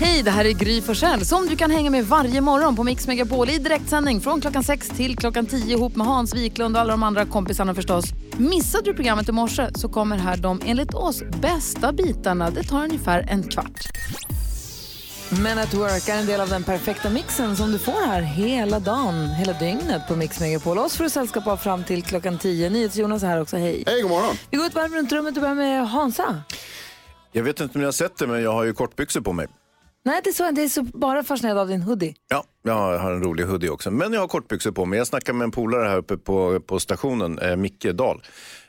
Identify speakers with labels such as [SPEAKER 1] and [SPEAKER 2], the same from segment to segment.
[SPEAKER 1] Hej, det här är Gry Forssell som du kan hänga med varje morgon på Mix Megapol i direktsändning från klockan 6 till klockan 10 ihop med Hans Wiklund och alla de andra kompisarna förstås. Missade du programmet i morse så kommer här de enligt oss bästa bitarna. Det tar ungefär en kvart. Men at Work är en del av den perfekta mixen som du får här hela dagen, hela dygnet på Mix Megapol. Oss får du sällskap av fram till klockan 10. NyhetsJonas är här också, hej.
[SPEAKER 2] Hej, god morgon.
[SPEAKER 1] Vi går ett varv runt rummet och börjar med Hansa.
[SPEAKER 3] Jag vet inte om ni har sett det, men jag har ju kortbyxor på mig.
[SPEAKER 1] Nej, det är, så, det är så bara fascinerad av din hoodie.
[SPEAKER 3] Ja, jag har en rolig hoodie också. Men jag har kortbyxor på mig. Jag snackade med en polare här uppe på, på stationen, eh, Micke Dahl.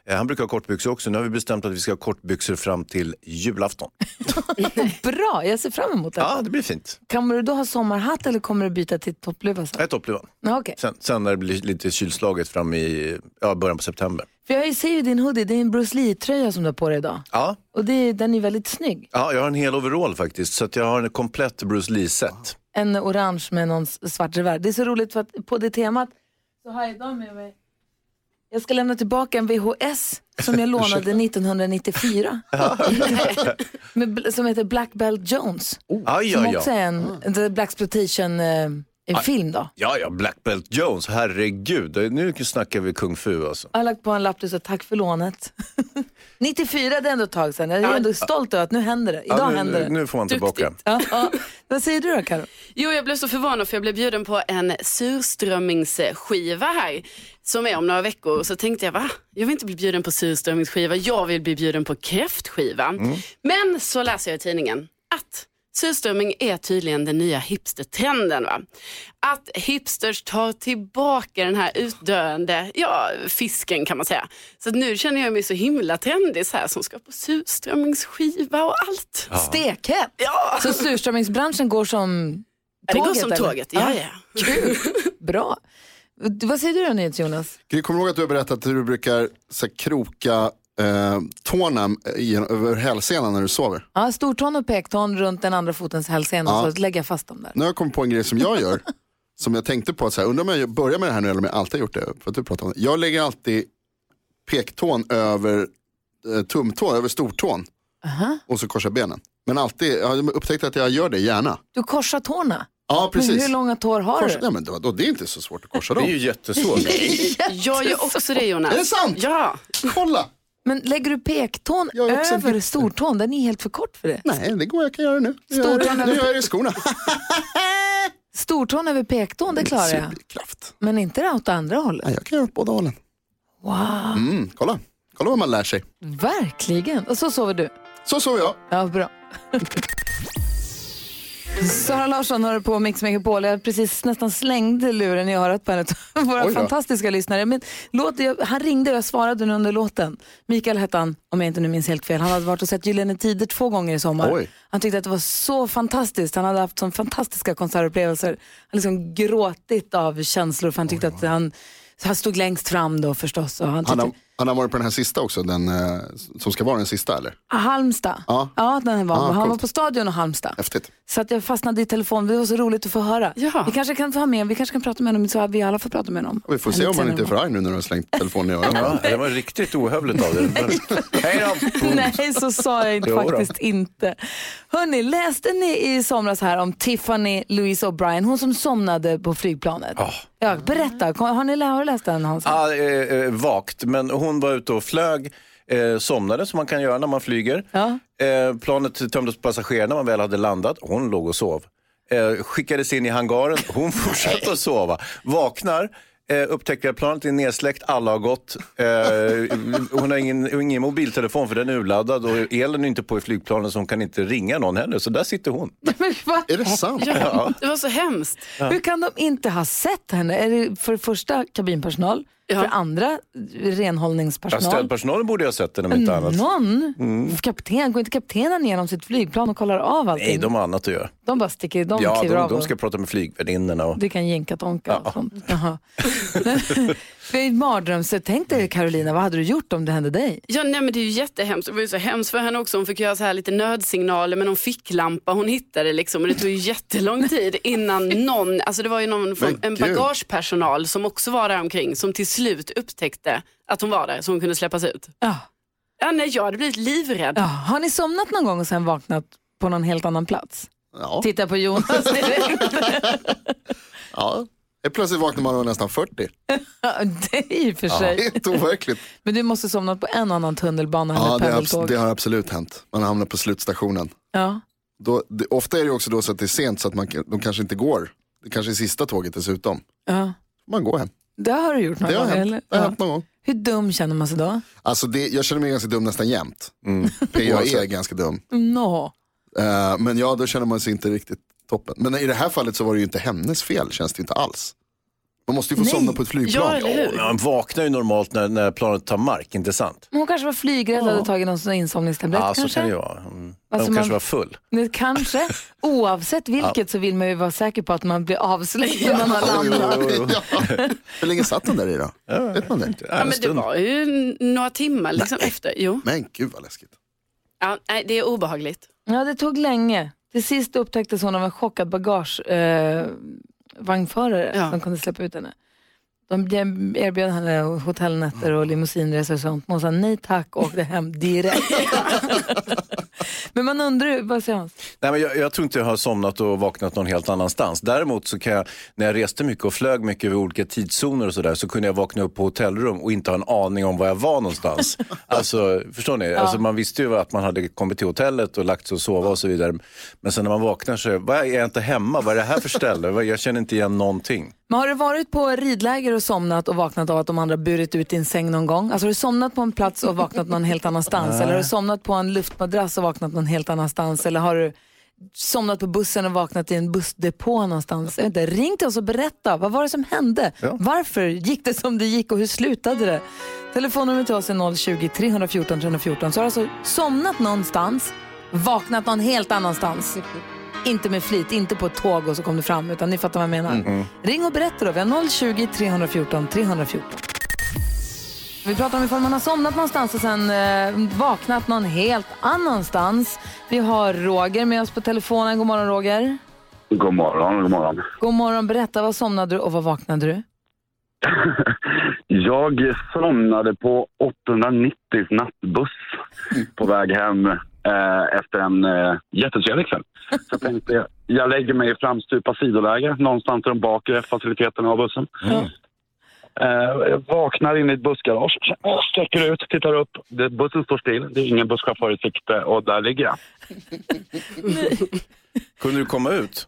[SPEAKER 3] Eh, han brukar ha kortbyxor också. Nu har vi bestämt att vi ska ha kortbyxor fram till julafton.
[SPEAKER 1] Bra, jag ser fram emot det.
[SPEAKER 3] Ja, det blir fint.
[SPEAKER 1] Kommer du då ha sommarhatt eller kommer du byta till toppluva sen?
[SPEAKER 3] Jag är toppluvan.
[SPEAKER 1] Ja, Okej.
[SPEAKER 3] Sen, sen när det blir lite kylslaget fram i ja, början på september.
[SPEAKER 1] För jag ser ju din hoodie, det är en Bruce Lee-tröja som du har på dig idag.
[SPEAKER 3] Ja,
[SPEAKER 1] Och det, är- den är väldigt snygg.
[SPEAKER 3] ja jag har en hel overall faktiskt. Så att jag har en komplett Bruce Lee-set.
[SPEAKER 1] En orange med någon s- svart revär. Det är så roligt för att på det temat så har jag idag med mig jag ska lämna tillbaka en VHS som jag lånade 1994. Med, bl- som heter Black Belt Jones.
[SPEAKER 3] Aj,
[SPEAKER 1] Som
[SPEAKER 3] ja,
[SPEAKER 1] också
[SPEAKER 3] ja.
[SPEAKER 1] är en, en Black Exploitation eh, en film då.
[SPEAKER 3] Ja, ja, Black Belt Jones, herregud. Nu snackar vi kung fu alltså.
[SPEAKER 1] Jag har lagt på en lapp där det står tack för lånet. 94, det är ändå ett tag sedan. Jag är ändå stolt över att nu händer det. Idag
[SPEAKER 3] Ja, nu,
[SPEAKER 1] händer det.
[SPEAKER 3] nu får man tillbaka.
[SPEAKER 1] Ja, ja. Vad säger du då Karo?
[SPEAKER 4] Jo, jag blev så förvånad för jag blev bjuden på en surströmmingsskiva här som är om några veckor. Så tänkte jag, va? Jag vill inte bli bjuden på surströmmingsskiva, jag vill bli bjuden på kräftskiva. Men så läser jag i tidningen att surströmming är tydligen den nya hipstertrenden. Va? Att hipsters tar tillbaka den här utdöende ja, fisken kan man säga. Så att nu känner jag mig så himla trendig så här som ska på surströmmingsskiva och allt.
[SPEAKER 1] Stekhet!
[SPEAKER 4] Ja,
[SPEAKER 1] Så surströmmingsbranschen går som
[SPEAKER 4] det
[SPEAKER 1] tåget?
[SPEAKER 4] går som
[SPEAKER 1] eller?
[SPEAKER 4] tåget. Ja, ja.
[SPEAKER 1] Kul, bra. Du- Vad säger du då Nyhets, Jonas?
[SPEAKER 2] Gry, kommer du ihåg att du har berättat att du brukar så här, kroka eh, tårna i, över hälsenan när du sover?
[SPEAKER 1] Ja, stortån och pektån runt den andra fotens hälsena
[SPEAKER 2] Ja.
[SPEAKER 1] och så lägger jag fast dem där.
[SPEAKER 2] Nu har jag kommit på en grej som jag gör. som jag tänkte på, att så här, undrar om jag börjar med det här nu eller om jag alltid har gjort det. För att du pratar om det. Jag lägger alltid pektån över eh, tumtån, över stortån. Och så korsar benen. Men alltid, jag har upptäckt att jag gör det gärna.
[SPEAKER 1] Du korsar tårna.
[SPEAKER 2] Ja,
[SPEAKER 1] Men
[SPEAKER 2] precis.
[SPEAKER 1] hur långa tår har
[SPEAKER 2] Kors,
[SPEAKER 1] du?
[SPEAKER 2] nej, men det, vadå, det är inte så svårt att korsa
[SPEAKER 3] Det är
[SPEAKER 2] dem.
[SPEAKER 3] ju jättesvårt.
[SPEAKER 4] Jag gör också det Jonas.
[SPEAKER 2] Är det sant?
[SPEAKER 4] Ja.
[SPEAKER 2] Kolla!
[SPEAKER 1] Men lägger du pektån
[SPEAKER 2] Jag är också en
[SPEAKER 1] över
[SPEAKER 2] hipster.
[SPEAKER 1] stortån? Den är helt för kort för det.
[SPEAKER 2] Nej, det går, jag kan göra det nu. Nu gör jag det-
[SPEAKER 1] Stortån
[SPEAKER 2] nu gör jag det i skorna.
[SPEAKER 1] Stortån över pektån, det klarar jag.
[SPEAKER 2] Kraft.
[SPEAKER 1] Men inte det åt andra hållet.
[SPEAKER 2] Nej, jag kan göra åt båda hållen.
[SPEAKER 1] Wow,
[SPEAKER 2] Mm, kolla. kolla vad man lär sig.
[SPEAKER 1] verkligen. Och så sover du.
[SPEAKER 2] Så sover jag.
[SPEAKER 1] Ja, bra. Sara Larsson hör på Mix Megapol. Jag precis nästan slängde luren i örat på en av våra
[SPEAKER 2] Oj då.
[SPEAKER 1] fantastiska lyssnare. Men låt, jag, han ringde och jag svarade nu under låten. Mikael hette han, om jag inte nu minns helt fel. Han hade varit och sett Gyllene Tider två gånger i sommar.
[SPEAKER 2] Oj.
[SPEAKER 1] Han tyckte att det var så fantastiskt. Han hade haft så fantastiska konsertupplevelser. Han liksom gråtit av känslor för han tyckte att han, han stod längst fram då förstås. Och han tyckte,
[SPEAKER 2] Han har, han har varit på den här sista också, den eh, som ska vara den sista eller?
[SPEAKER 1] Halmstad.
[SPEAKER 2] Ja.
[SPEAKER 1] ja den var.
[SPEAKER 2] Ah,
[SPEAKER 1] han var
[SPEAKER 2] coolt.
[SPEAKER 1] på stadion och Halmstad.
[SPEAKER 2] Häftigt.
[SPEAKER 1] Så att jag fastnade i telefon. Det var så roligt att få höra.
[SPEAKER 4] Ja.
[SPEAKER 1] Vi kanske kan få ha med, vi kanske kan prata med honom så att vi alla får prata med honom.
[SPEAKER 2] Vi får se om han inte är för arg nu när du har slängt telefonen i öronen.
[SPEAKER 3] Ja, det var riktigt ohövligt av dig. Hej då!
[SPEAKER 1] Nej, så sa jag inte,
[SPEAKER 3] Jo då.
[SPEAKER 1] faktiskt inte. Hörni, läste ni i somras här om Tiffany Louise O'Brien, hon som somnade på flygplanet?
[SPEAKER 3] Ja.
[SPEAKER 1] Ja, berätta, Kom- har ni lä- har du läst den Hans?
[SPEAKER 3] Ja, eh, eh, vagt, men hon var ute och flög, eh, somnade som man kan göra när man flyger.
[SPEAKER 1] Ja.
[SPEAKER 3] Eh, planet tömdes på passagerare när man väl hade landat. Hon låg och sov. Eh, skickades in i hangaren, hon fortsatte att sova. Vaknar, eh, upptäcker att planet är nedsläckt, alla har gått. Eh, hon har ingen, ingen mobiltelefon för den är urladdad och elen är inte på i flygplanen så hon kan inte ringa någon heller. Så där sitter hon.
[SPEAKER 1] Men va?
[SPEAKER 2] Är det sant?
[SPEAKER 4] Ja, det var så hemskt.
[SPEAKER 1] Hur kan de inte ha sett henne? Är det för det första kabinpersonal,
[SPEAKER 4] Ja.
[SPEAKER 1] för det andra
[SPEAKER 3] Ja,
[SPEAKER 1] renhållningspersonal?
[SPEAKER 3] Stödpersonalen borde ju ha sett den om inte
[SPEAKER 1] Mm.
[SPEAKER 3] annat.
[SPEAKER 2] Alltså.
[SPEAKER 1] Någon
[SPEAKER 2] Mm.
[SPEAKER 1] kapten, går inte kaptenen igenom sitt flygplan och kollar av allting?
[SPEAKER 3] Nej, de har annat att göra.
[SPEAKER 1] De bara sticker, de
[SPEAKER 3] Ja,
[SPEAKER 1] kliver
[SPEAKER 3] de,
[SPEAKER 1] av.
[SPEAKER 3] de ska prata med flygvärdinnorna. Och...
[SPEAKER 1] Du kan jänka tonka och sånt. Jaha. Det är en mardröm. Så tänk dig Carolina, vad hade du gjort om det hände dig?
[SPEAKER 4] Ja, nej, men det är ju jättehemskt. Det var ju så hemskt för henne också. Hon fick göra så här lite nödsignaler med någon ficklampa hon hittade. Liksom. Och det tog ju jättelång tid innan någon, alltså det var ju någon från, en
[SPEAKER 2] gud.
[SPEAKER 4] bagagepersonal som också var där omkring som till slut upptäckte att hon var där så hon kunde släppas ut.
[SPEAKER 1] Ja.
[SPEAKER 4] Ja, nej, jag hade blivit livrädd.
[SPEAKER 1] Ja. Har ni somnat någon gång och sen vaknat på någon helt annan plats?
[SPEAKER 2] Ja,
[SPEAKER 1] Titta på Jonas direkt.
[SPEAKER 2] ja. Helt Plötsligt vaknar man och är nästan 40.
[SPEAKER 1] det är i och för sig.
[SPEAKER 2] Helt overkligt.
[SPEAKER 1] Men du måste somna på en annan tunnelbana
[SPEAKER 2] Ja,
[SPEAKER 1] eller
[SPEAKER 2] det, har, abs-
[SPEAKER 1] pendeltåg.
[SPEAKER 2] det har absolut hänt. Man hamnar på slutstationen.
[SPEAKER 1] Ja.
[SPEAKER 2] Då, det, ofta är det också då så att det är sent så att man, kan- de kanske inte går. Det kanske är sista tåget dessutom.
[SPEAKER 1] Ja.
[SPEAKER 2] Man går hem.
[SPEAKER 1] Det har du gjort någon
[SPEAKER 2] Det har
[SPEAKER 1] gång,
[SPEAKER 2] hänt.
[SPEAKER 1] eller?
[SPEAKER 2] Det har
[SPEAKER 1] Ja.
[SPEAKER 2] hänt någon gång.
[SPEAKER 1] Hur dum känner man sig då?
[SPEAKER 2] Alltså det, jag känner mig ganska dum nästan jämt. Jag är ganska dum.
[SPEAKER 1] No.
[SPEAKER 2] Eh, men ja, då känner man sig inte riktigt toppen. Men i det här fallet så var det ju inte hennes fel, känns det inte alls. Man måste ju få
[SPEAKER 1] Nej.
[SPEAKER 2] somna på ett
[SPEAKER 4] Ja,
[SPEAKER 2] flygplan.
[SPEAKER 4] eller hur?
[SPEAKER 3] Man vaknar ju normalt när, när planet tar mark, inte sant?
[SPEAKER 1] Men Hon kanske var flygrädd och hade tagit någon sån insomningstablett
[SPEAKER 3] Ja, så
[SPEAKER 1] kanske?
[SPEAKER 3] kan det ju vara. Mm.
[SPEAKER 1] Alltså,
[SPEAKER 3] de kanske
[SPEAKER 1] man-
[SPEAKER 3] var full.
[SPEAKER 1] Men kanske. Oavsett vilket så vill man ju vara säker på att man blir avslöjad när man
[SPEAKER 2] Ja, jo,
[SPEAKER 1] landar.
[SPEAKER 2] jo, jo. Ja. Hur länge satt hon där i då? Vet man det?
[SPEAKER 3] Ja,
[SPEAKER 4] Ja,
[SPEAKER 3] en
[SPEAKER 4] men det
[SPEAKER 3] stund.
[SPEAKER 4] var ju n- några timmar liksom efter. Jo.
[SPEAKER 2] Men gud vad läskigt.
[SPEAKER 4] Ja, nej, det är obehagligt.
[SPEAKER 1] Ja, det tog länge. Till sist upptäcktes hon av en chockad bagagevagnförare eh, vagnförare
[SPEAKER 4] Ja.
[SPEAKER 1] som kunde släppa ut henne. De bjö- erbjöd henne hotellnätter och limousinresor och sånt. Men hon sa nej tack och åkte hem direkt. Men man undrar ju, vad säger han?
[SPEAKER 3] Nej, men jag, jag tror inte jag har somnat och vaknat någon helt annanstans. Däremot så kan jag, när jag reste mycket och flög mycket över olika tidszoner och sådär, så kunde jag vakna upp på hotellrum och inte ha en aning om var jag var någonstans. alltså, förstår ni? Alltså, man visste ju att man hade kommit till hotellet och lagt sig och sova och så vidare. Men sen när man vaknar så, är- vad är jag inte hemma? Vad är det här för ställe? Vad- Jag känner inte igen någonting.
[SPEAKER 1] Men har du varit på ridläger och somnat och vaknat av att de andra burit ut din säng någon gång? Alltså har du somnat på en plats och vaknat någon helt annanstans? Eller har du somnat på en luftmadrass och vaknat någon helt annanstans? Eller har du somnat på bussen och vaknat i en bussdepå någonstans? Jag vet inte, ring till oss och berätta. Vad var det som hände? Varför gick det som det gick och hur slutade det? Telefonnumret till oss är 020-314 314. Så har du alltså somnat någonstans, vaknat någon helt annanstans. Inte med flit, inte på ett tåg och så kom du fram, utan ni fattar vad jag menar. Ring och berätta då. Vi har 020 314 314. Vi pratar om ifall man har somnat någonstans och sen eh, vaknat någon helt annanstans. Vi har Roger med oss på telefonen. God morgon Roger.
[SPEAKER 5] God morgon, god morgon.
[SPEAKER 1] God morgon. Berätta, vad somnade du och vad vaknade du?
[SPEAKER 5] Jag somnade på 890 nattbuss på väg hem eh, efter en eh, jättetrevlig kväll. Så jag tänkte jag, jag lägger mig i framstupa sidoläge någonstans runt bakre faciliteten av bussen. Eh, jag vaknar inne i ett bussgarage, sträcker ut, tittar upp. Det, bussen står still, det är ingen busschaufför i sikte och där ligger jag.
[SPEAKER 3] Kunde du komma ut?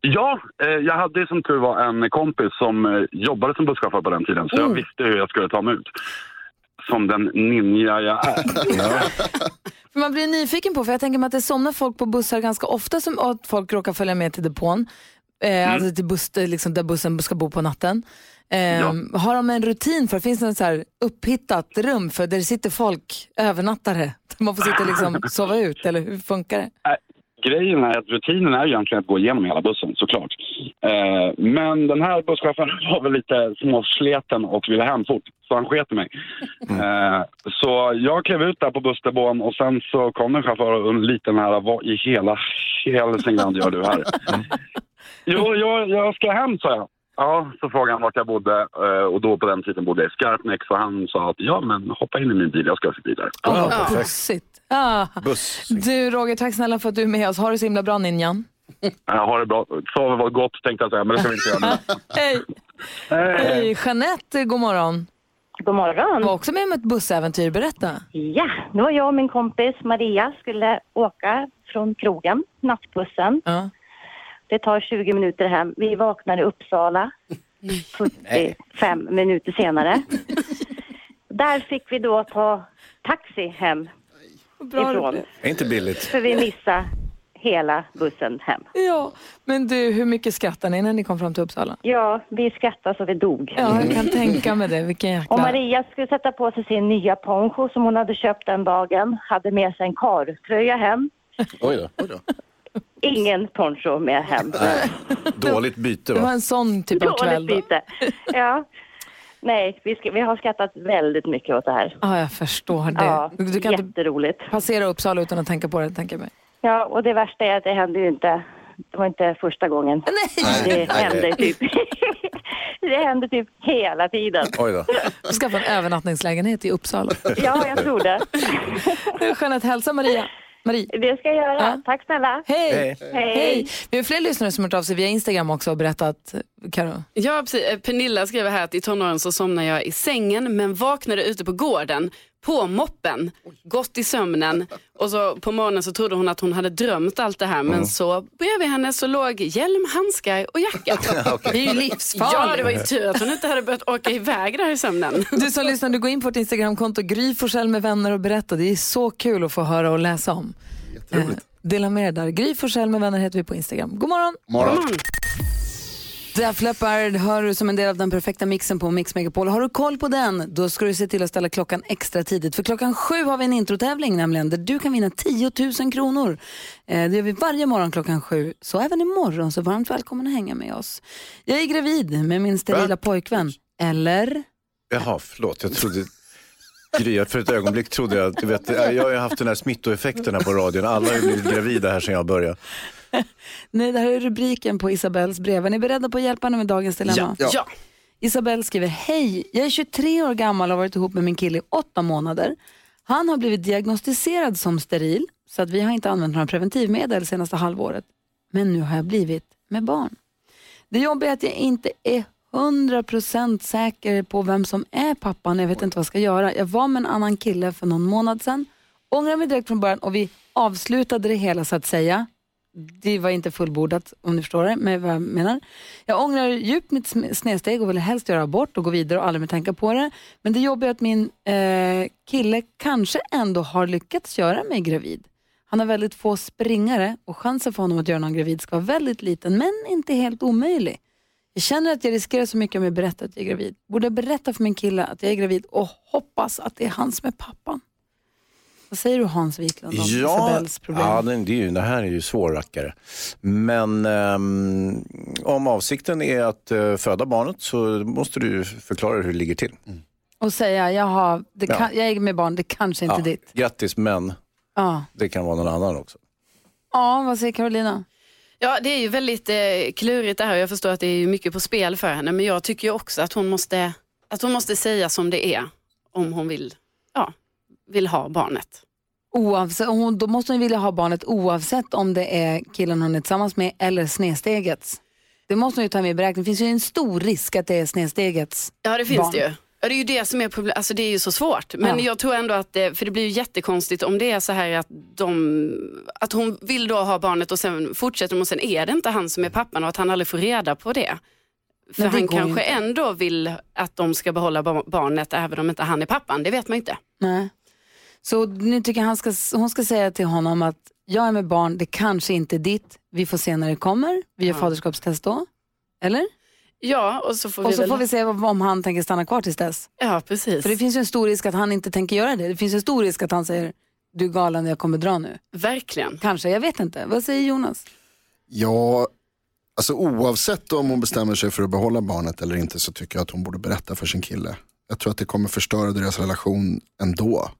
[SPEAKER 5] Ja, eh, jag hade som tur var en kompis som eh, jobbade som busschaufför på den tiden, så jag visste hur jag skulle ta mig ut. Som den ninja jag är.
[SPEAKER 1] För man blir nyfiken på, för jag tänker mig att det somnar folk på bussar ganska ofta som och att folk råkar följa med till depån. Eh, Alltså till buss, eh, liksom där bussen ska bo på natten. Eh, Har de en rutin för, finns det något så här upphittat rum för där det sitter folk, övernattare? Där man får sitta och liksom sova ut, eller hur funkar det?
[SPEAKER 5] Grejen är att rutinen är ju egentligen att gå igenom hela bussen, såklart. Eh, men den här busschauffören var väl lite småsleten och ville hem fort, så han sket i mig. Eh, så jag klev ut där på bussdepån och sen så kom en chaufför och en liten här, vad i hela Hälsingland gör du här? Jo, jag, jag ska hem, sa jag. Ja, så frågade han vart jag bodde eh, och då på den tiden bodde jag i Skarpnäck så han sa att ja men hoppa in i min bil, jag ska förbi där.
[SPEAKER 1] Åh, vad
[SPEAKER 4] perfekt.
[SPEAKER 1] gosigt. Ah.
[SPEAKER 3] Buss.
[SPEAKER 1] Du Roger, tack snälla för att du är med oss. Ha det så himla bra ninjan.
[SPEAKER 5] Jag har det bra, sover var gott tänkte jag säga men det ska vi inte göra nu.
[SPEAKER 1] Hej! Hej! Jeanette, eh, god morgon.
[SPEAKER 6] God
[SPEAKER 1] Du var
[SPEAKER 6] morgon.
[SPEAKER 1] också med om ett bussäventyr, berätta.
[SPEAKER 6] Ja, nu var jag och min kompis Maria skulle åka från krogen, nattbussen.
[SPEAKER 1] Ja.
[SPEAKER 6] Det tar 20 minuter hem. Vi vaknar i Uppsala 45 minuter senare. Där fick vi då ta taxi hem ifrån,
[SPEAKER 3] Det är inte billigt.
[SPEAKER 6] för vi missade hela bussen hem.
[SPEAKER 1] Ja, men du, hur mycket skrattade ni när ni kom fram till Uppsala?
[SPEAKER 6] Ja, vi skrattade så vi dog.
[SPEAKER 1] Ja, jag kan tänka mig det. Vilken jäkla...
[SPEAKER 6] Och Maria skulle sätta på sig sin nya poncho som hon hade köpt den dagen. Hade med sig en karltröja hem.
[SPEAKER 3] Oj då.
[SPEAKER 2] Oj då.
[SPEAKER 6] Ingen poncho med hem.
[SPEAKER 3] Dåligt byte
[SPEAKER 1] Det var
[SPEAKER 3] va?
[SPEAKER 1] en sån typ av kväll.
[SPEAKER 6] Dåligt
[SPEAKER 1] Då.
[SPEAKER 6] byte. Ja. Nej, vi, ska, vi har skrattat väldigt mycket åt det här.
[SPEAKER 1] Ja, jag förstår det.
[SPEAKER 6] Ja,
[SPEAKER 1] du kan inte
[SPEAKER 6] jätteroligt.
[SPEAKER 1] passera Uppsala utan att tänka på det, tänker jag mig.
[SPEAKER 6] Ja, och det värsta är att det hände ju inte. Det var inte första gången.
[SPEAKER 1] Nej!
[SPEAKER 6] Det hände typ. det hände typ hela tiden.
[SPEAKER 3] Oj då.
[SPEAKER 1] Du skaffa en övernattningslägenhet i Uppsala.
[SPEAKER 6] Ja, jag tror det.
[SPEAKER 1] Jeanette, hälsa Maria. Marie.
[SPEAKER 6] Det ska jag göra.
[SPEAKER 1] Ja.
[SPEAKER 6] Tack snälla.
[SPEAKER 1] Hej!
[SPEAKER 3] Hej.
[SPEAKER 6] Hej.
[SPEAKER 1] Hej! Vi har fler lyssnare som har hört av sig via Instagram också och berättat, Karo.
[SPEAKER 4] Ja, precis. Eh, Pernilla skriver här att i tonåren så somnade jag i sängen men vaknade ute på gården på moppen, gått i sömnen och så på morgonen så trodde hon att hon hade drömt allt det här men så bredvid henne så låg hjälm, handskar och jacka.
[SPEAKER 1] Det är ju
[SPEAKER 4] Ja, det
[SPEAKER 1] livsfarligt.
[SPEAKER 4] var ju tur att hon inte hade börjat åka iväg där i sömnen.
[SPEAKER 1] Du som lyssnar, du går in på vårt Instagramkonto, Gry Forssell med vänner och berätta. Det är så kul att få höra och läsa om. Jätteroligt. Dela med er där. Gry Forssell med vänner heter vi på Instagram. God morgon!
[SPEAKER 2] Morgon.
[SPEAKER 1] Def Leppard hör du som en del av den perfekta mixen på Mix Megapol. Har du koll på den, då ska du se till att ställa klockan extra tidigt. För klockan sju har vi en introtävling nämligen, där du kan vinna 10 000 kronor. Eh, Det gör vi varje morgon klockan sju, så även imorgon. Så varmt välkommen att hänga med oss. Jag är gravid med min sterila
[SPEAKER 3] Va?
[SPEAKER 1] pojkvän. Eller?
[SPEAKER 3] Jaha, förlåt. Jag trodde... Gry, jag- för ett ögonblick trodde jag... Du vet, jag har ju haft den här smittoeffekten här på radion. Alla har ju blivit gravida här sedan jag började.
[SPEAKER 1] Nej, det här är rubriken på Isabells brev. Är ni beredda på att hjälpa henne med dagens dilemma?
[SPEAKER 2] Ja.
[SPEAKER 4] Ja,
[SPEAKER 1] Isabelle skriver, hej, jag är 23 år gammal och har varit ihop med min kille i åtta månader. Han har blivit diagnostiserad som steril, så att vi har inte använt några preventivmedel senaste halvåret. Men nu har jag blivit med barn. Det jobbiga är att jag inte är 100% säker på vem som är pappan. Jag vet inte vad jag ska göra. Jag var med en annan kille för någon månad sedan, ångrade mig direkt från början och vi avslutade det hela så att säga. Det var inte fullbordat om du förstår det, med vad jag menar. Jag ångrar djupt mitt sm- snedsteg och vill helst göra abort och gå vidare och aldrig mer tänka på det. Men det jobbiga är att min eh, kille kanske ändå har lyckats göra mig gravid. Han har väldigt få springare och chansen för honom att göra någon gravid ska vara väldigt liten, men inte helt omöjlig. Jag känner att jag riskerar så mycket om jag berättar att jag är gravid. Borde jag berätta för min kille att jag är gravid och hoppas att det är han som är pappan? Vad säger du Hans Wiklund om Isabells problem?
[SPEAKER 3] ja den, det, är ju, det här är ju svårrackare. Men ehm, om avsikten är att eh, föda barnet så måste du förklara hur det ligger till.
[SPEAKER 1] och säga jag, har, det
[SPEAKER 3] Ja.
[SPEAKER 1] kan, jag är med barn, det kanske inte är ditt.
[SPEAKER 3] Grattis, men
[SPEAKER 1] Ja.
[SPEAKER 3] det kan vara någon annan också.
[SPEAKER 1] ja, vad säger Carolina?
[SPEAKER 4] ja det är ju väldigt eh, klurigt det här och jag förstår att det är ju mycket på spel för henne men jag tycker ju också att hon måste, att hon måste säga som det är om hon vill, ja, vill ha barnet.
[SPEAKER 1] Oavsett, hon, då måste hon vilja ha barnet oavsett om det är killen hon är tillsammans med eller snestegets. Det måste hon ju ta med i beräkningen. Det finns ju en stor risk att det är snestegets.
[SPEAKER 4] Ja, det finns
[SPEAKER 1] barn.
[SPEAKER 4] det ju. Ja, det är ju det som är problemet. Alltså det är ju så svårt. Men
[SPEAKER 1] Ja.
[SPEAKER 4] jag tror ändå att det, för det blir ju jättekonstigt om det är så här att, de, att hon vill då ha barnet och sen fortsätter de och sen är det inte han som är pappan och att han aldrig får reda på det. För
[SPEAKER 1] det
[SPEAKER 4] han
[SPEAKER 1] går ju
[SPEAKER 4] kanske ändå vill att de ska behålla bar- barnet även om inte han är pappan. Det vet man inte.
[SPEAKER 1] Nej. Så nu tycker jag han ska, hon ska säga till honom att jag är med barn, det kanske inte är ditt. Vi får se när det kommer. Vi gör
[SPEAKER 4] Ja.
[SPEAKER 1] faderskapstest då. Eller?
[SPEAKER 4] Ja, och så får
[SPEAKER 1] Och
[SPEAKER 4] vi
[SPEAKER 1] så
[SPEAKER 4] väl...
[SPEAKER 1] får vi se om han tänker stanna kvar tills dess.
[SPEAKER 4] Ja, precis.
[SPEAKER 1] För det finns ju en stor risk att han inte tänker göra det. Det finns en stor risk att han säger du är galen, jag kommer dra nu.
[SPEAKER 4] Verkligen.
[SPEAKER 1] Kanske, jag vet inte. Vad säger Jonas?
[SPEAKER 2] Ja, alltså oavsett om hon bestämmer sig för att behålla barnet eller inte så tycker jag att hon borde berätta för sin kille. Jag tror att det kommer förstöra deras relation ändå.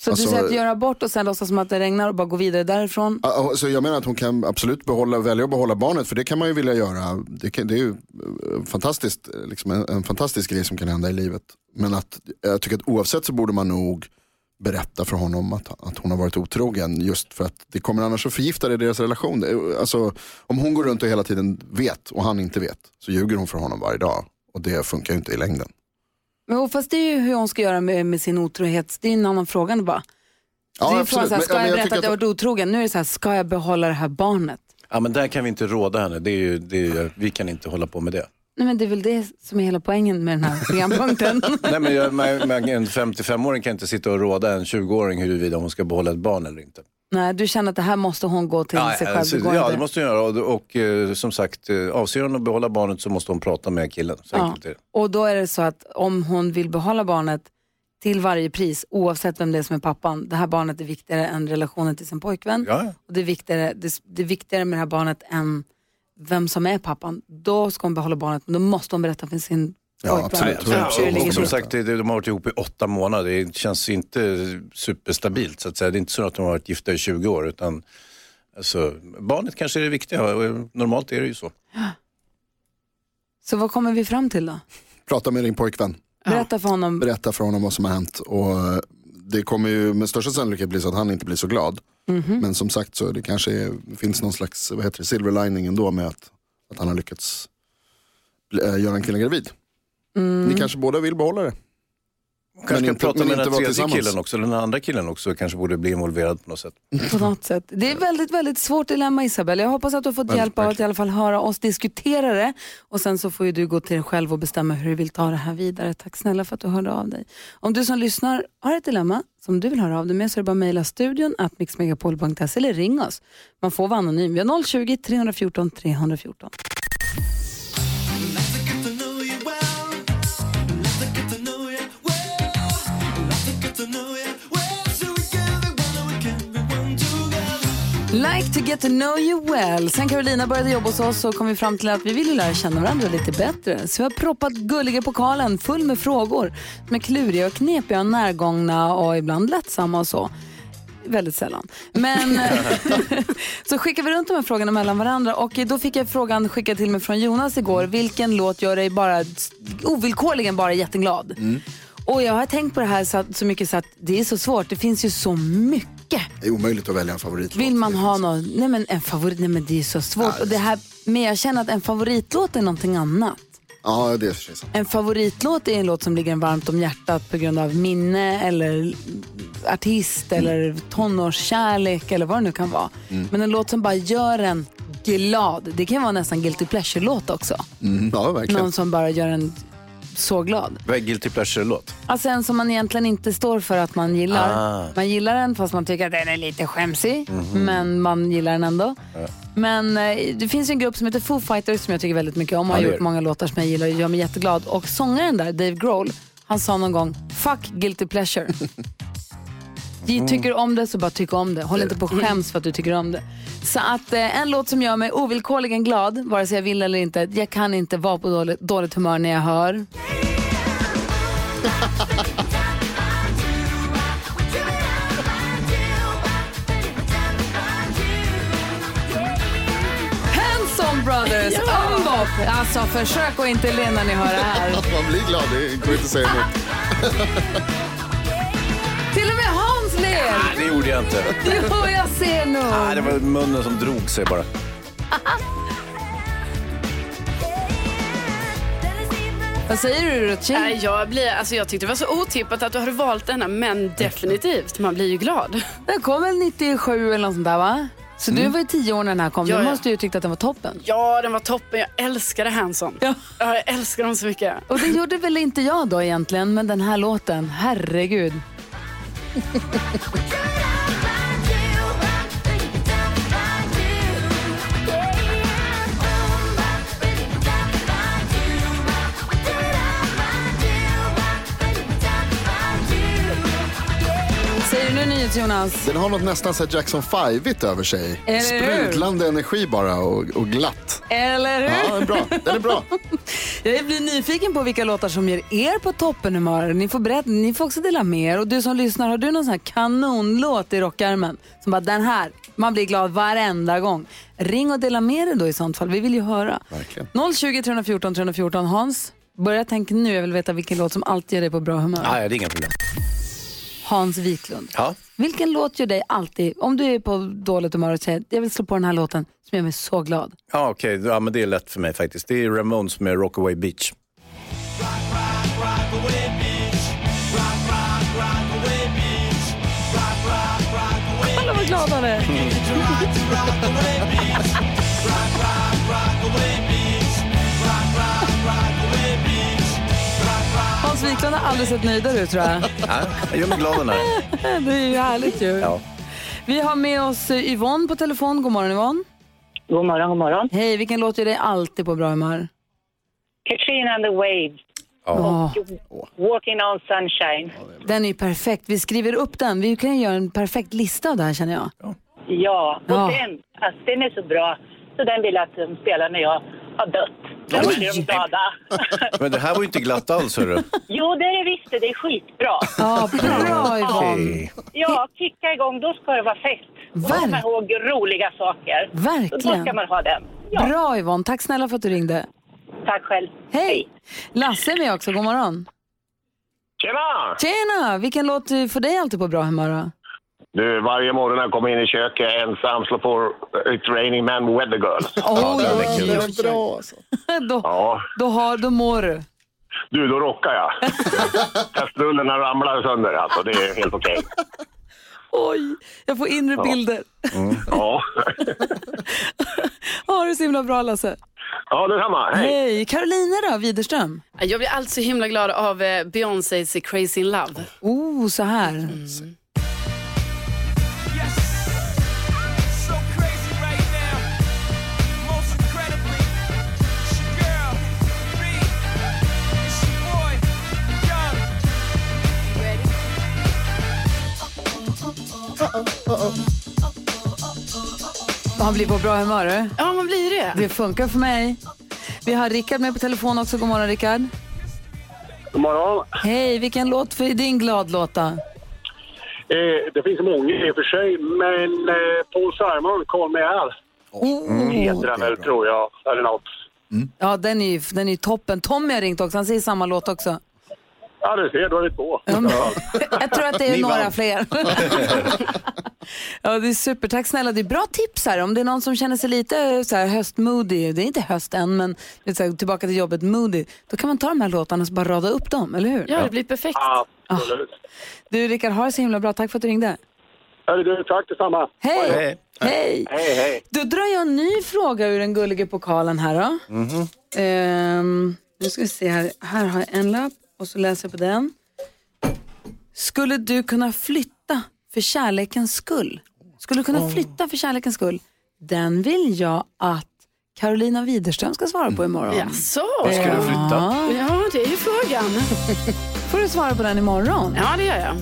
[SPEAKER 1] Så
[SPEAKER 2] Alltså-
[SPEAKER 1] du säger att göra abort och sen låtsas som att det regnar och bara gå vidare därifrån?
[SPEAKER 2] Ja, ja, Så jag menar att hon kan absolut behålla, välja att behålla barnet för det kan man ju vilja göra. Det, kan, det är ju eh, fantastiskt, eh, liksom en, en fantastisk grej som kan hända i livet. Men att, jag tycker att oavsett så borde man nog berätta för honom att, att hon har varit otrogen. Just för att det kommer annars att förgifta det i deras relation. Det är- Alltså, om hon går runt och hela tiden vet och han inte vet så ljuger hon för honom varje dag. Och det funkar ju inte i längden.
[SPEAKER 1] Men och fast det är ju hur hon ska göra med, med sin otrohet, det är en annan fråga än bara.
[SPEAKER 2] Ja,
[SPEAKER 1] det är ju frågan
[SPEAKER 2] absolut.
[SPEAKER 1] så här,
[SPEAKER 2] Men-
[SPEAKER 1] ska
[SPEAKER 2] ja, men
[SPEAKER 1] jag
[SPEAKER 2] jag
[SPEAKER 1] berätta
[SPEAKER 2] tycker
[SPEAKER 1] att jag har varit otrogen? Nu är det så här, ska jag behålla det här barnet?
[SPEAKER 3] Ja, men där kan vi inte råda henne. Det är ju, det är ju, vi kan inte hålla på med det.
[SPEAKER 1] Nej men det är väl det som är hela poängen med den här programpunkten.
[SPEAKER 3] Nej, men jag, man, man, en 55-åring kan inte sitta och råda en 20-åring huruvida hon ska behålla ett barn eller inte.
[SPEAKER 1] Nej, du känner att det här måste hon gå till sig själv.
[SPEAKER 3] alltså,
[SPEAKER 1] det går
[SPEAKER 3] ja,
[SPEAKER 1] inte.
[SPEAKER 3] det måste hon göra. Och, och eh, som sagt, eh, avser hon att behålla barnet så måste hon prata med killen. Så
[SPEAKER 1] Ja.
[SPEAKER 3] enkelt är det.
[SPEAKER 1] Och då är det så att om hon vill behålla barnet till varje pris, oavsett vem det är som är pappan, det här barnet är viktigare än relationen till sin pojkvän.
[SPEAKER 3] Ja, ja.
[SPEAKER 1] Och det, är viktigare, det, det är viktigare med det här barnet än vem som är pappan. Då ska hon behålla barnet, men då måste hon berätta för sin
[SPEAKER 2] Ja,
[SPEAKER 1] pojkvän.
[SPEAKER 2] absolut.
[SPEAKER 1] hur
[SPEAKER 2] Ja,
[SPEAKER 1] det
[SPEAKER 3] och,
[SPEAKER 1] ligger
[SPEAKER 3] och som
[SPEAKER 1] till.
[SPEAKER 3] sagt, det, det- de har varit ihop i åtta månader. Det känns inte superstabilt. Så att säga. Det är inte så att de har varit gifta i 20 år. Utan, alltså, barnet kanske är det viktiga. och, eh, Normalt är det ju så.
[SPEAKER 1] Så vad kommer vi fram till då?
[SPEAKER 2] att Prata med din pojkvän.
[SPEAKER 1] Berätta för honom.
[SPEAKER 2] berätta för honom vad som har hänt och eh, det kommer ju med största sannolikhet bli så att han inte blir så glad.
[SPEAKER 1] Mhm.
[SPEAKER 2] Men som sagt så det kanske är, finns någon slags vad heter det, silver lining ändå med att, att han har lyckats bli- eh, göra en kille gravid.
[SPEAKER 1] Mm.
[SPEAKER 2] Ni kanske båda vill behålla det.
[SPEAKER 3] Kanske kan
[SPEAKER 2] inte-
[SPEAKER 3] prata
[SPEAKER 2] men
[SPEAKER 3] med
[SPEAKER 2] inte
[SPEAKER 3] den
[SPEAKER 2] vara
[SPEAKER 3] tredje
[SPEAKER 2] tillsammans.
[SPEAKER 3] killen också, eller den andra killen också kanske borde bli involverad på något sätt.
[SPEAKER 1] på något sätt. Det är väldigt, väldigt svårt dilemma Isabel. Jag hoppas att du har fått hjälp av att i alla fall höra oss diskutera det. Och sen så får ju du gå till dig själv och bestämma hur du vill ta det här vidare. Tack snälla för att du hörde av dig. Om du som lyssnar har ett dilemma som du vill höra av dig med så är det bara att mejla studion at mixmegapol.se eller ring oss. Man får vara anonym. Vi har 020-314 314. Like to get to know you well. Sen Carolina började jobba hos oss så kom vi fram till att vi ville lära känna varandra lite bättre. Så vi har proppat gulliga pokalen full med frågor som är kluriga och knepiga och närgångna och ibland lättsamma och så. Väldigt sällan. Men så skickar vi runt de här frågorna mellan varandra och då fick jag frågan skickad till mig från Jonas igår. Vilken låt gör dig bara ovillkorligen bara jätteglad? Och jag har tänkt på det här så, att, så mycket så att det är så svårt. Det finns ju så mycket.
[SPEAKER 2] Det är omöjligt att välja en favoritlåt.
[SPEAKER 1] Vill man ha någon, nej men en favorit, nej men det är så svårt. och det här, men jag känner att en favoritlåt är någonting annat.
[SPEAKER 2] Ja, det är för sig sant.
[SPEAKER 1] En favoritlåt är en låt som ligger en varmt om hjärtat på grund av minne eller artist eller tonårskärlek eller vad det nu kan vara. Men en låt som bara gör en glad, det kan vara nästan guilty pleasure-låt också.
[SPEAKER 2] Mm. Ja, verkligen.
[SPEAKER 1] Någon som bara gör en så glad.
[SPEAKER 3] Vad är guilty pleasure-låt?
[SPEAKER 1] Alltså en som man egentligen inte står för att man gillar.
[SPEAKER 3] Ah. Mhm.
[SPEAKER 1] Man gillar den fast man tycker att den är lite skämsig. Men man gillar den ändå. Men eh, det finns ju en grupp som heter Foo Fighters som jag tycker väldigt mycket om och har
[SPEAKER 3] Ja, det
[SPEAKER 1] gjort
[SPEAKER 3] gör det.
[SPEAKER 1] många låtar som jag gillar och gör mig jätteglad. Och sångaren där, Dave Grohl, han sa någon gång “Fuck guilty pleasure”.
[SPEAKER 3] Mm.
[SPEAKER 1] Ge- Tycker du om det så bara tyck om det. Håll inte på och skäms för att du tycker om det. Så att eh, en låt som gör mig ovillkorligen glad, vare sig jag vill eller inte. Jag kan inte vara på dåligt, dåligt humör när jag hör Hanson Brothers, Umbop. Alltså försök att inte le när ni hör det här.
[SPEAKER 2] Man blir glad, det går inte att säga emot.
[SPEAKER 1] Till och med Hans ler.
[SPEAKER 3] Det gjorde jag inte.
[SPEAKER 1] Jo, jag ser
[SPEAKER 3] Nej, det
[SPEAKER 1] nog.
[SPEAKER 3] var munnen som drog sig bara.
[SPEAKER 1] Vad säger du Ruchi?
[SPEAKER 4] Nej, jag, blir, alltså, jag tyckte det var så otippat att du hade valt denna, men definitivt, man blir ju glad.
[SPEAKER 1] Den kom väl 97 eller något sånt där va? Så du var ju tio år när den här kom.
[SPEAKER 4] Ja,
[SPEAKER 1] Du
[SPEAKER 4] ja.
[SPEAKER 1] måste ju tyckt att den var toppen.
[SPEAKER 4] Ja, den var toppen. Jag älskade Hanson.
[SPEAKER 1] Ja.
[SPEAKER 4] Ja, jag älskar dem så mycket.
[SPEAKER 1] Och det gjorde väl inte jag då egentligen, men den här låten, herregud. Säger du nu nyhets Jonas?
[SPEAKER 2] Den har något nästan så här Jackson 5-igt över sig.
[SPEAKER 1] Eller hur?
[SPEAKER 2] Sprudlande energi bara och, och glatt.
[SPEAKER 1] Eller hur?
[SPEAKER 2] Ja, den är bra. Den är bra.
[SPEAKER 1] Jag blir nyfiken på vilka låtar som ger er på toppenhumör. Ni får, berätta, ni får också dela med er. Och du som lyssnar, har du någon sån här kanonlåt i rockärmen? Som bara den här, man blir glad varenda gång. Ring och dela med er då i sånt fall, vi vill ju höra. Verkligen. 020 314 314 Hans, börja tänka nu, jag vill veta vilken låt som alltid gör dig på bra humör.
[SPEAKER 3] Nej, det är inga problem.
[SPEAKER 1] Hans Wiklund.
[SPEAKER 3] Ja.
[SPEAKER 1] Vilken låt gör dig alltid, om du är på dåligt humör och säger jag vill slå på den här låten som gör mig så glad.
[SPEAKER 3] Ja, okej. Ja, men det är lätt för mig faktiskt. Det är Ramones med Rockaway Beach.
[SPEAKER 1] Kolla vad glad han är. Hans Wiklund har aldrig sett nöjdare ut tror jag.
[SPEAKER 3] Ja, jag gör mig glad den här.
[SPEAKER 1] Det är ju härligt ju.
[SPEAKER 3] Ja.
[SPEAKER 1] Vi har med oss eh, Yvonne på telefon. God morgon Yvonne.
[SPEAKER 6] God morgon, god morgon.
[SPEAKER 1] Hej, vilken låt gör dig alltid på bra humör?
[SPEAKER 6] Katrina and the Waves,
[SPEAKER 1] Åh,
[SPEAKER 6] Walking on Sunshine.
[SPEAKER 1] den är ju perfekt. Vi skriver upp den. Vi kan ju göra en perfekt lista av det här känner jag.
[SPEAKER 6] Ja, och
[SPEAKER 1] Ja.
[SPEAKER 6] den, alltså, den är så bra. Så den vill jag att de spelar när jag har dött. Då blir de glada.
[SPEAKER 3] Men det här var ju inte glatt alls, hörru.
[SPEAKER 6] jo, det är det visst det. Det är skitbra.
[SPEAKER 1] Ja, bra Yvonne.
[SPEAKER 3] Hej.
[SPEAKER 6] Ja, kicka igång. Då ska det vara fest. Då ska man
[SPEAKER 1] Verk-
[SPEAKER 6] ihåg roliga saker. Då
[SPEAKER 1] Verkligen.
[SPEAKER 6] ska man ha den. Ja,
[SPEAKER 1] Bra Yvonne. Tack snälla för att du ringde.
[SPEAKER 6] tack själv.
[SPEAKER 1] Hej! Lasse är med också. God morgon.
[SPEAKER 7] Tjena!
[SPEAKER 1] Tjena! Vilken låt eh, får dig alltid på bra humör då?
[SPEAKER 7] Du, varje morgon när jag kommer in i köket ensam slår på It's Raining Men with Weather Girls.
[SPEAKER 1] Oj,
[SPEAKER 3] den
[SPEAKER 1] oj,
[SPEAKER 3] räcker.
[SPEAKER 1] oj,
[SPEAKER 3] Den
[SPEAKER 1] oj.
[SPEAKER 2] bra alltså.
[SPEAKER 1] Då,
[SPEAKER 7] Ja,
[SPEAKER 1] då, har, då mår du.
[SPEAKER 7] du, då rockar jag. Kastrullerna ramlar sönder alltså, det är helt okej.
[SPEAKER 1] Oj, jag får inre bilder.
[SPEAKER 7] Ja.
[SPEAKER 1] Ha det så himla bra Lasse.
[SPEAKER 7] ja, detsamma. Hej!
[SPEAKER 1] Hej, Carolina då, Widerström.
[SPEAKER 4] Jag blir alltid så himla glad av eh, Beyoncés Crazy in Love.
[SPEAKER 1] Oh, så här.
[SPEAKER 8] So crazy right now. Most incredibly, she girl, me, and she boy, young.
[SPEAKER 1] Han blir på bra humör. du.
[SPEAKER 4] Ja, man blir det.
[SPEAKER 1] Det funkar för mig. Vi har Rickard med på telefon också. God morgon Rickard.
[SPEAKER 7] God morgon.
[SPEAKER 1] Hej, vilken låt för din gladlåta?
[SPEAKER 7] Eh, det finns många i och för sig, men eh, Paul Simon, Call Me Al,
[SPEAKER 1] Oh.
[SPEAKER 7] heter den väl tror jag, eller något.
[SPEAKER 1] Ja, den är ju den är ju toppen. Tommy har ringt också. Han säger samma låt också.
[SPEAKER 7] Ja, du ser, då är det två.
[SPEAKER 1] Ja, men- Jag tror att det är
[SPEAKER 3] Ni
[SPEAKER 1] några
[SPEAKER 3] vann.
[SPEAKER 1] fler. ja, det är super. Tack snälla. Det är bra tips här. Om det är någon som känner sig lite eh, så här höstmoody, det är inte höst än, men det är så här, tillbaka till jobbet moody, då kan man ta de här låtarna och så bara rada upp dem, eller hur?
[SPEAKER 4] Ja, det blir perfekt.
[SPEAKER 7] Absolut.
[SPEAKER 1] Du Rickard, har det så himla bra. Tack för att du ringde.
[SPEAKER 7] Hörru du, tack detsamma.
[SPEAKER 1] Hej!
[SPEAKER 3] Hej.
[SPEAKER 1] Hej!
[SPEAKER 7] Hej, hej.
[SPEAKER 1] Då drar jag en ny fråga ur den gullige pokalen här då.
[SPEAKER 3] Mhm.
[SPEAKER 1] Ehm, nu ska vi se här. Här har jag en lapp och så läser jag på den. Skulle du kunna flytta för kärlekens skull? Skulle du kunna flytta för kärlekens skull? Den vill jag att Carolina Widerström ska svara på imorgon.
[SPEAKER 4] Jaså?
[SPEAKER 3] Ska Mm. du flytta?
[SPEAKER 4] Ja, det är ju frågan.
[SPEAKER 1] Får du svara på den imorgon?
[SPEAKER 4] Ja, det gör jag.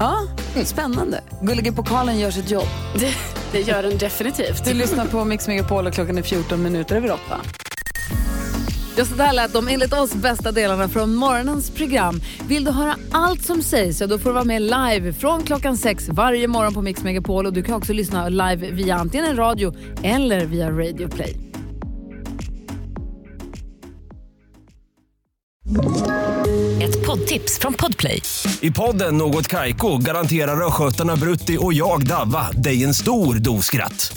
[SPEAKER 1] Ja,
[SPEAKER 3] Mm.
[SPEAKER 1] spännande. Gullige pokalen gör sitt jobb.
[SPEAKER 4] Det, det gör den definitivt.
[SPEAKER 1] Du lyssnar på Mix Megapol och klockan är 14 minuter över 8. Ja, så där lät de enligt oss bästa delarna från morgonens program. Vill du höra allt som sägs, ja, då får du vara med live från klockan sex varje morgon på Mix Megapol. Och du kan också lyssna live via antingen en radio eller via Radio Play.
[SPEAKER 9] Ett poddtips från Podplay.
[SPEAKER 10] I podden Något Kaiko garanterar östgötarna Brutti och jag, Davva, dig en stor dos skratt.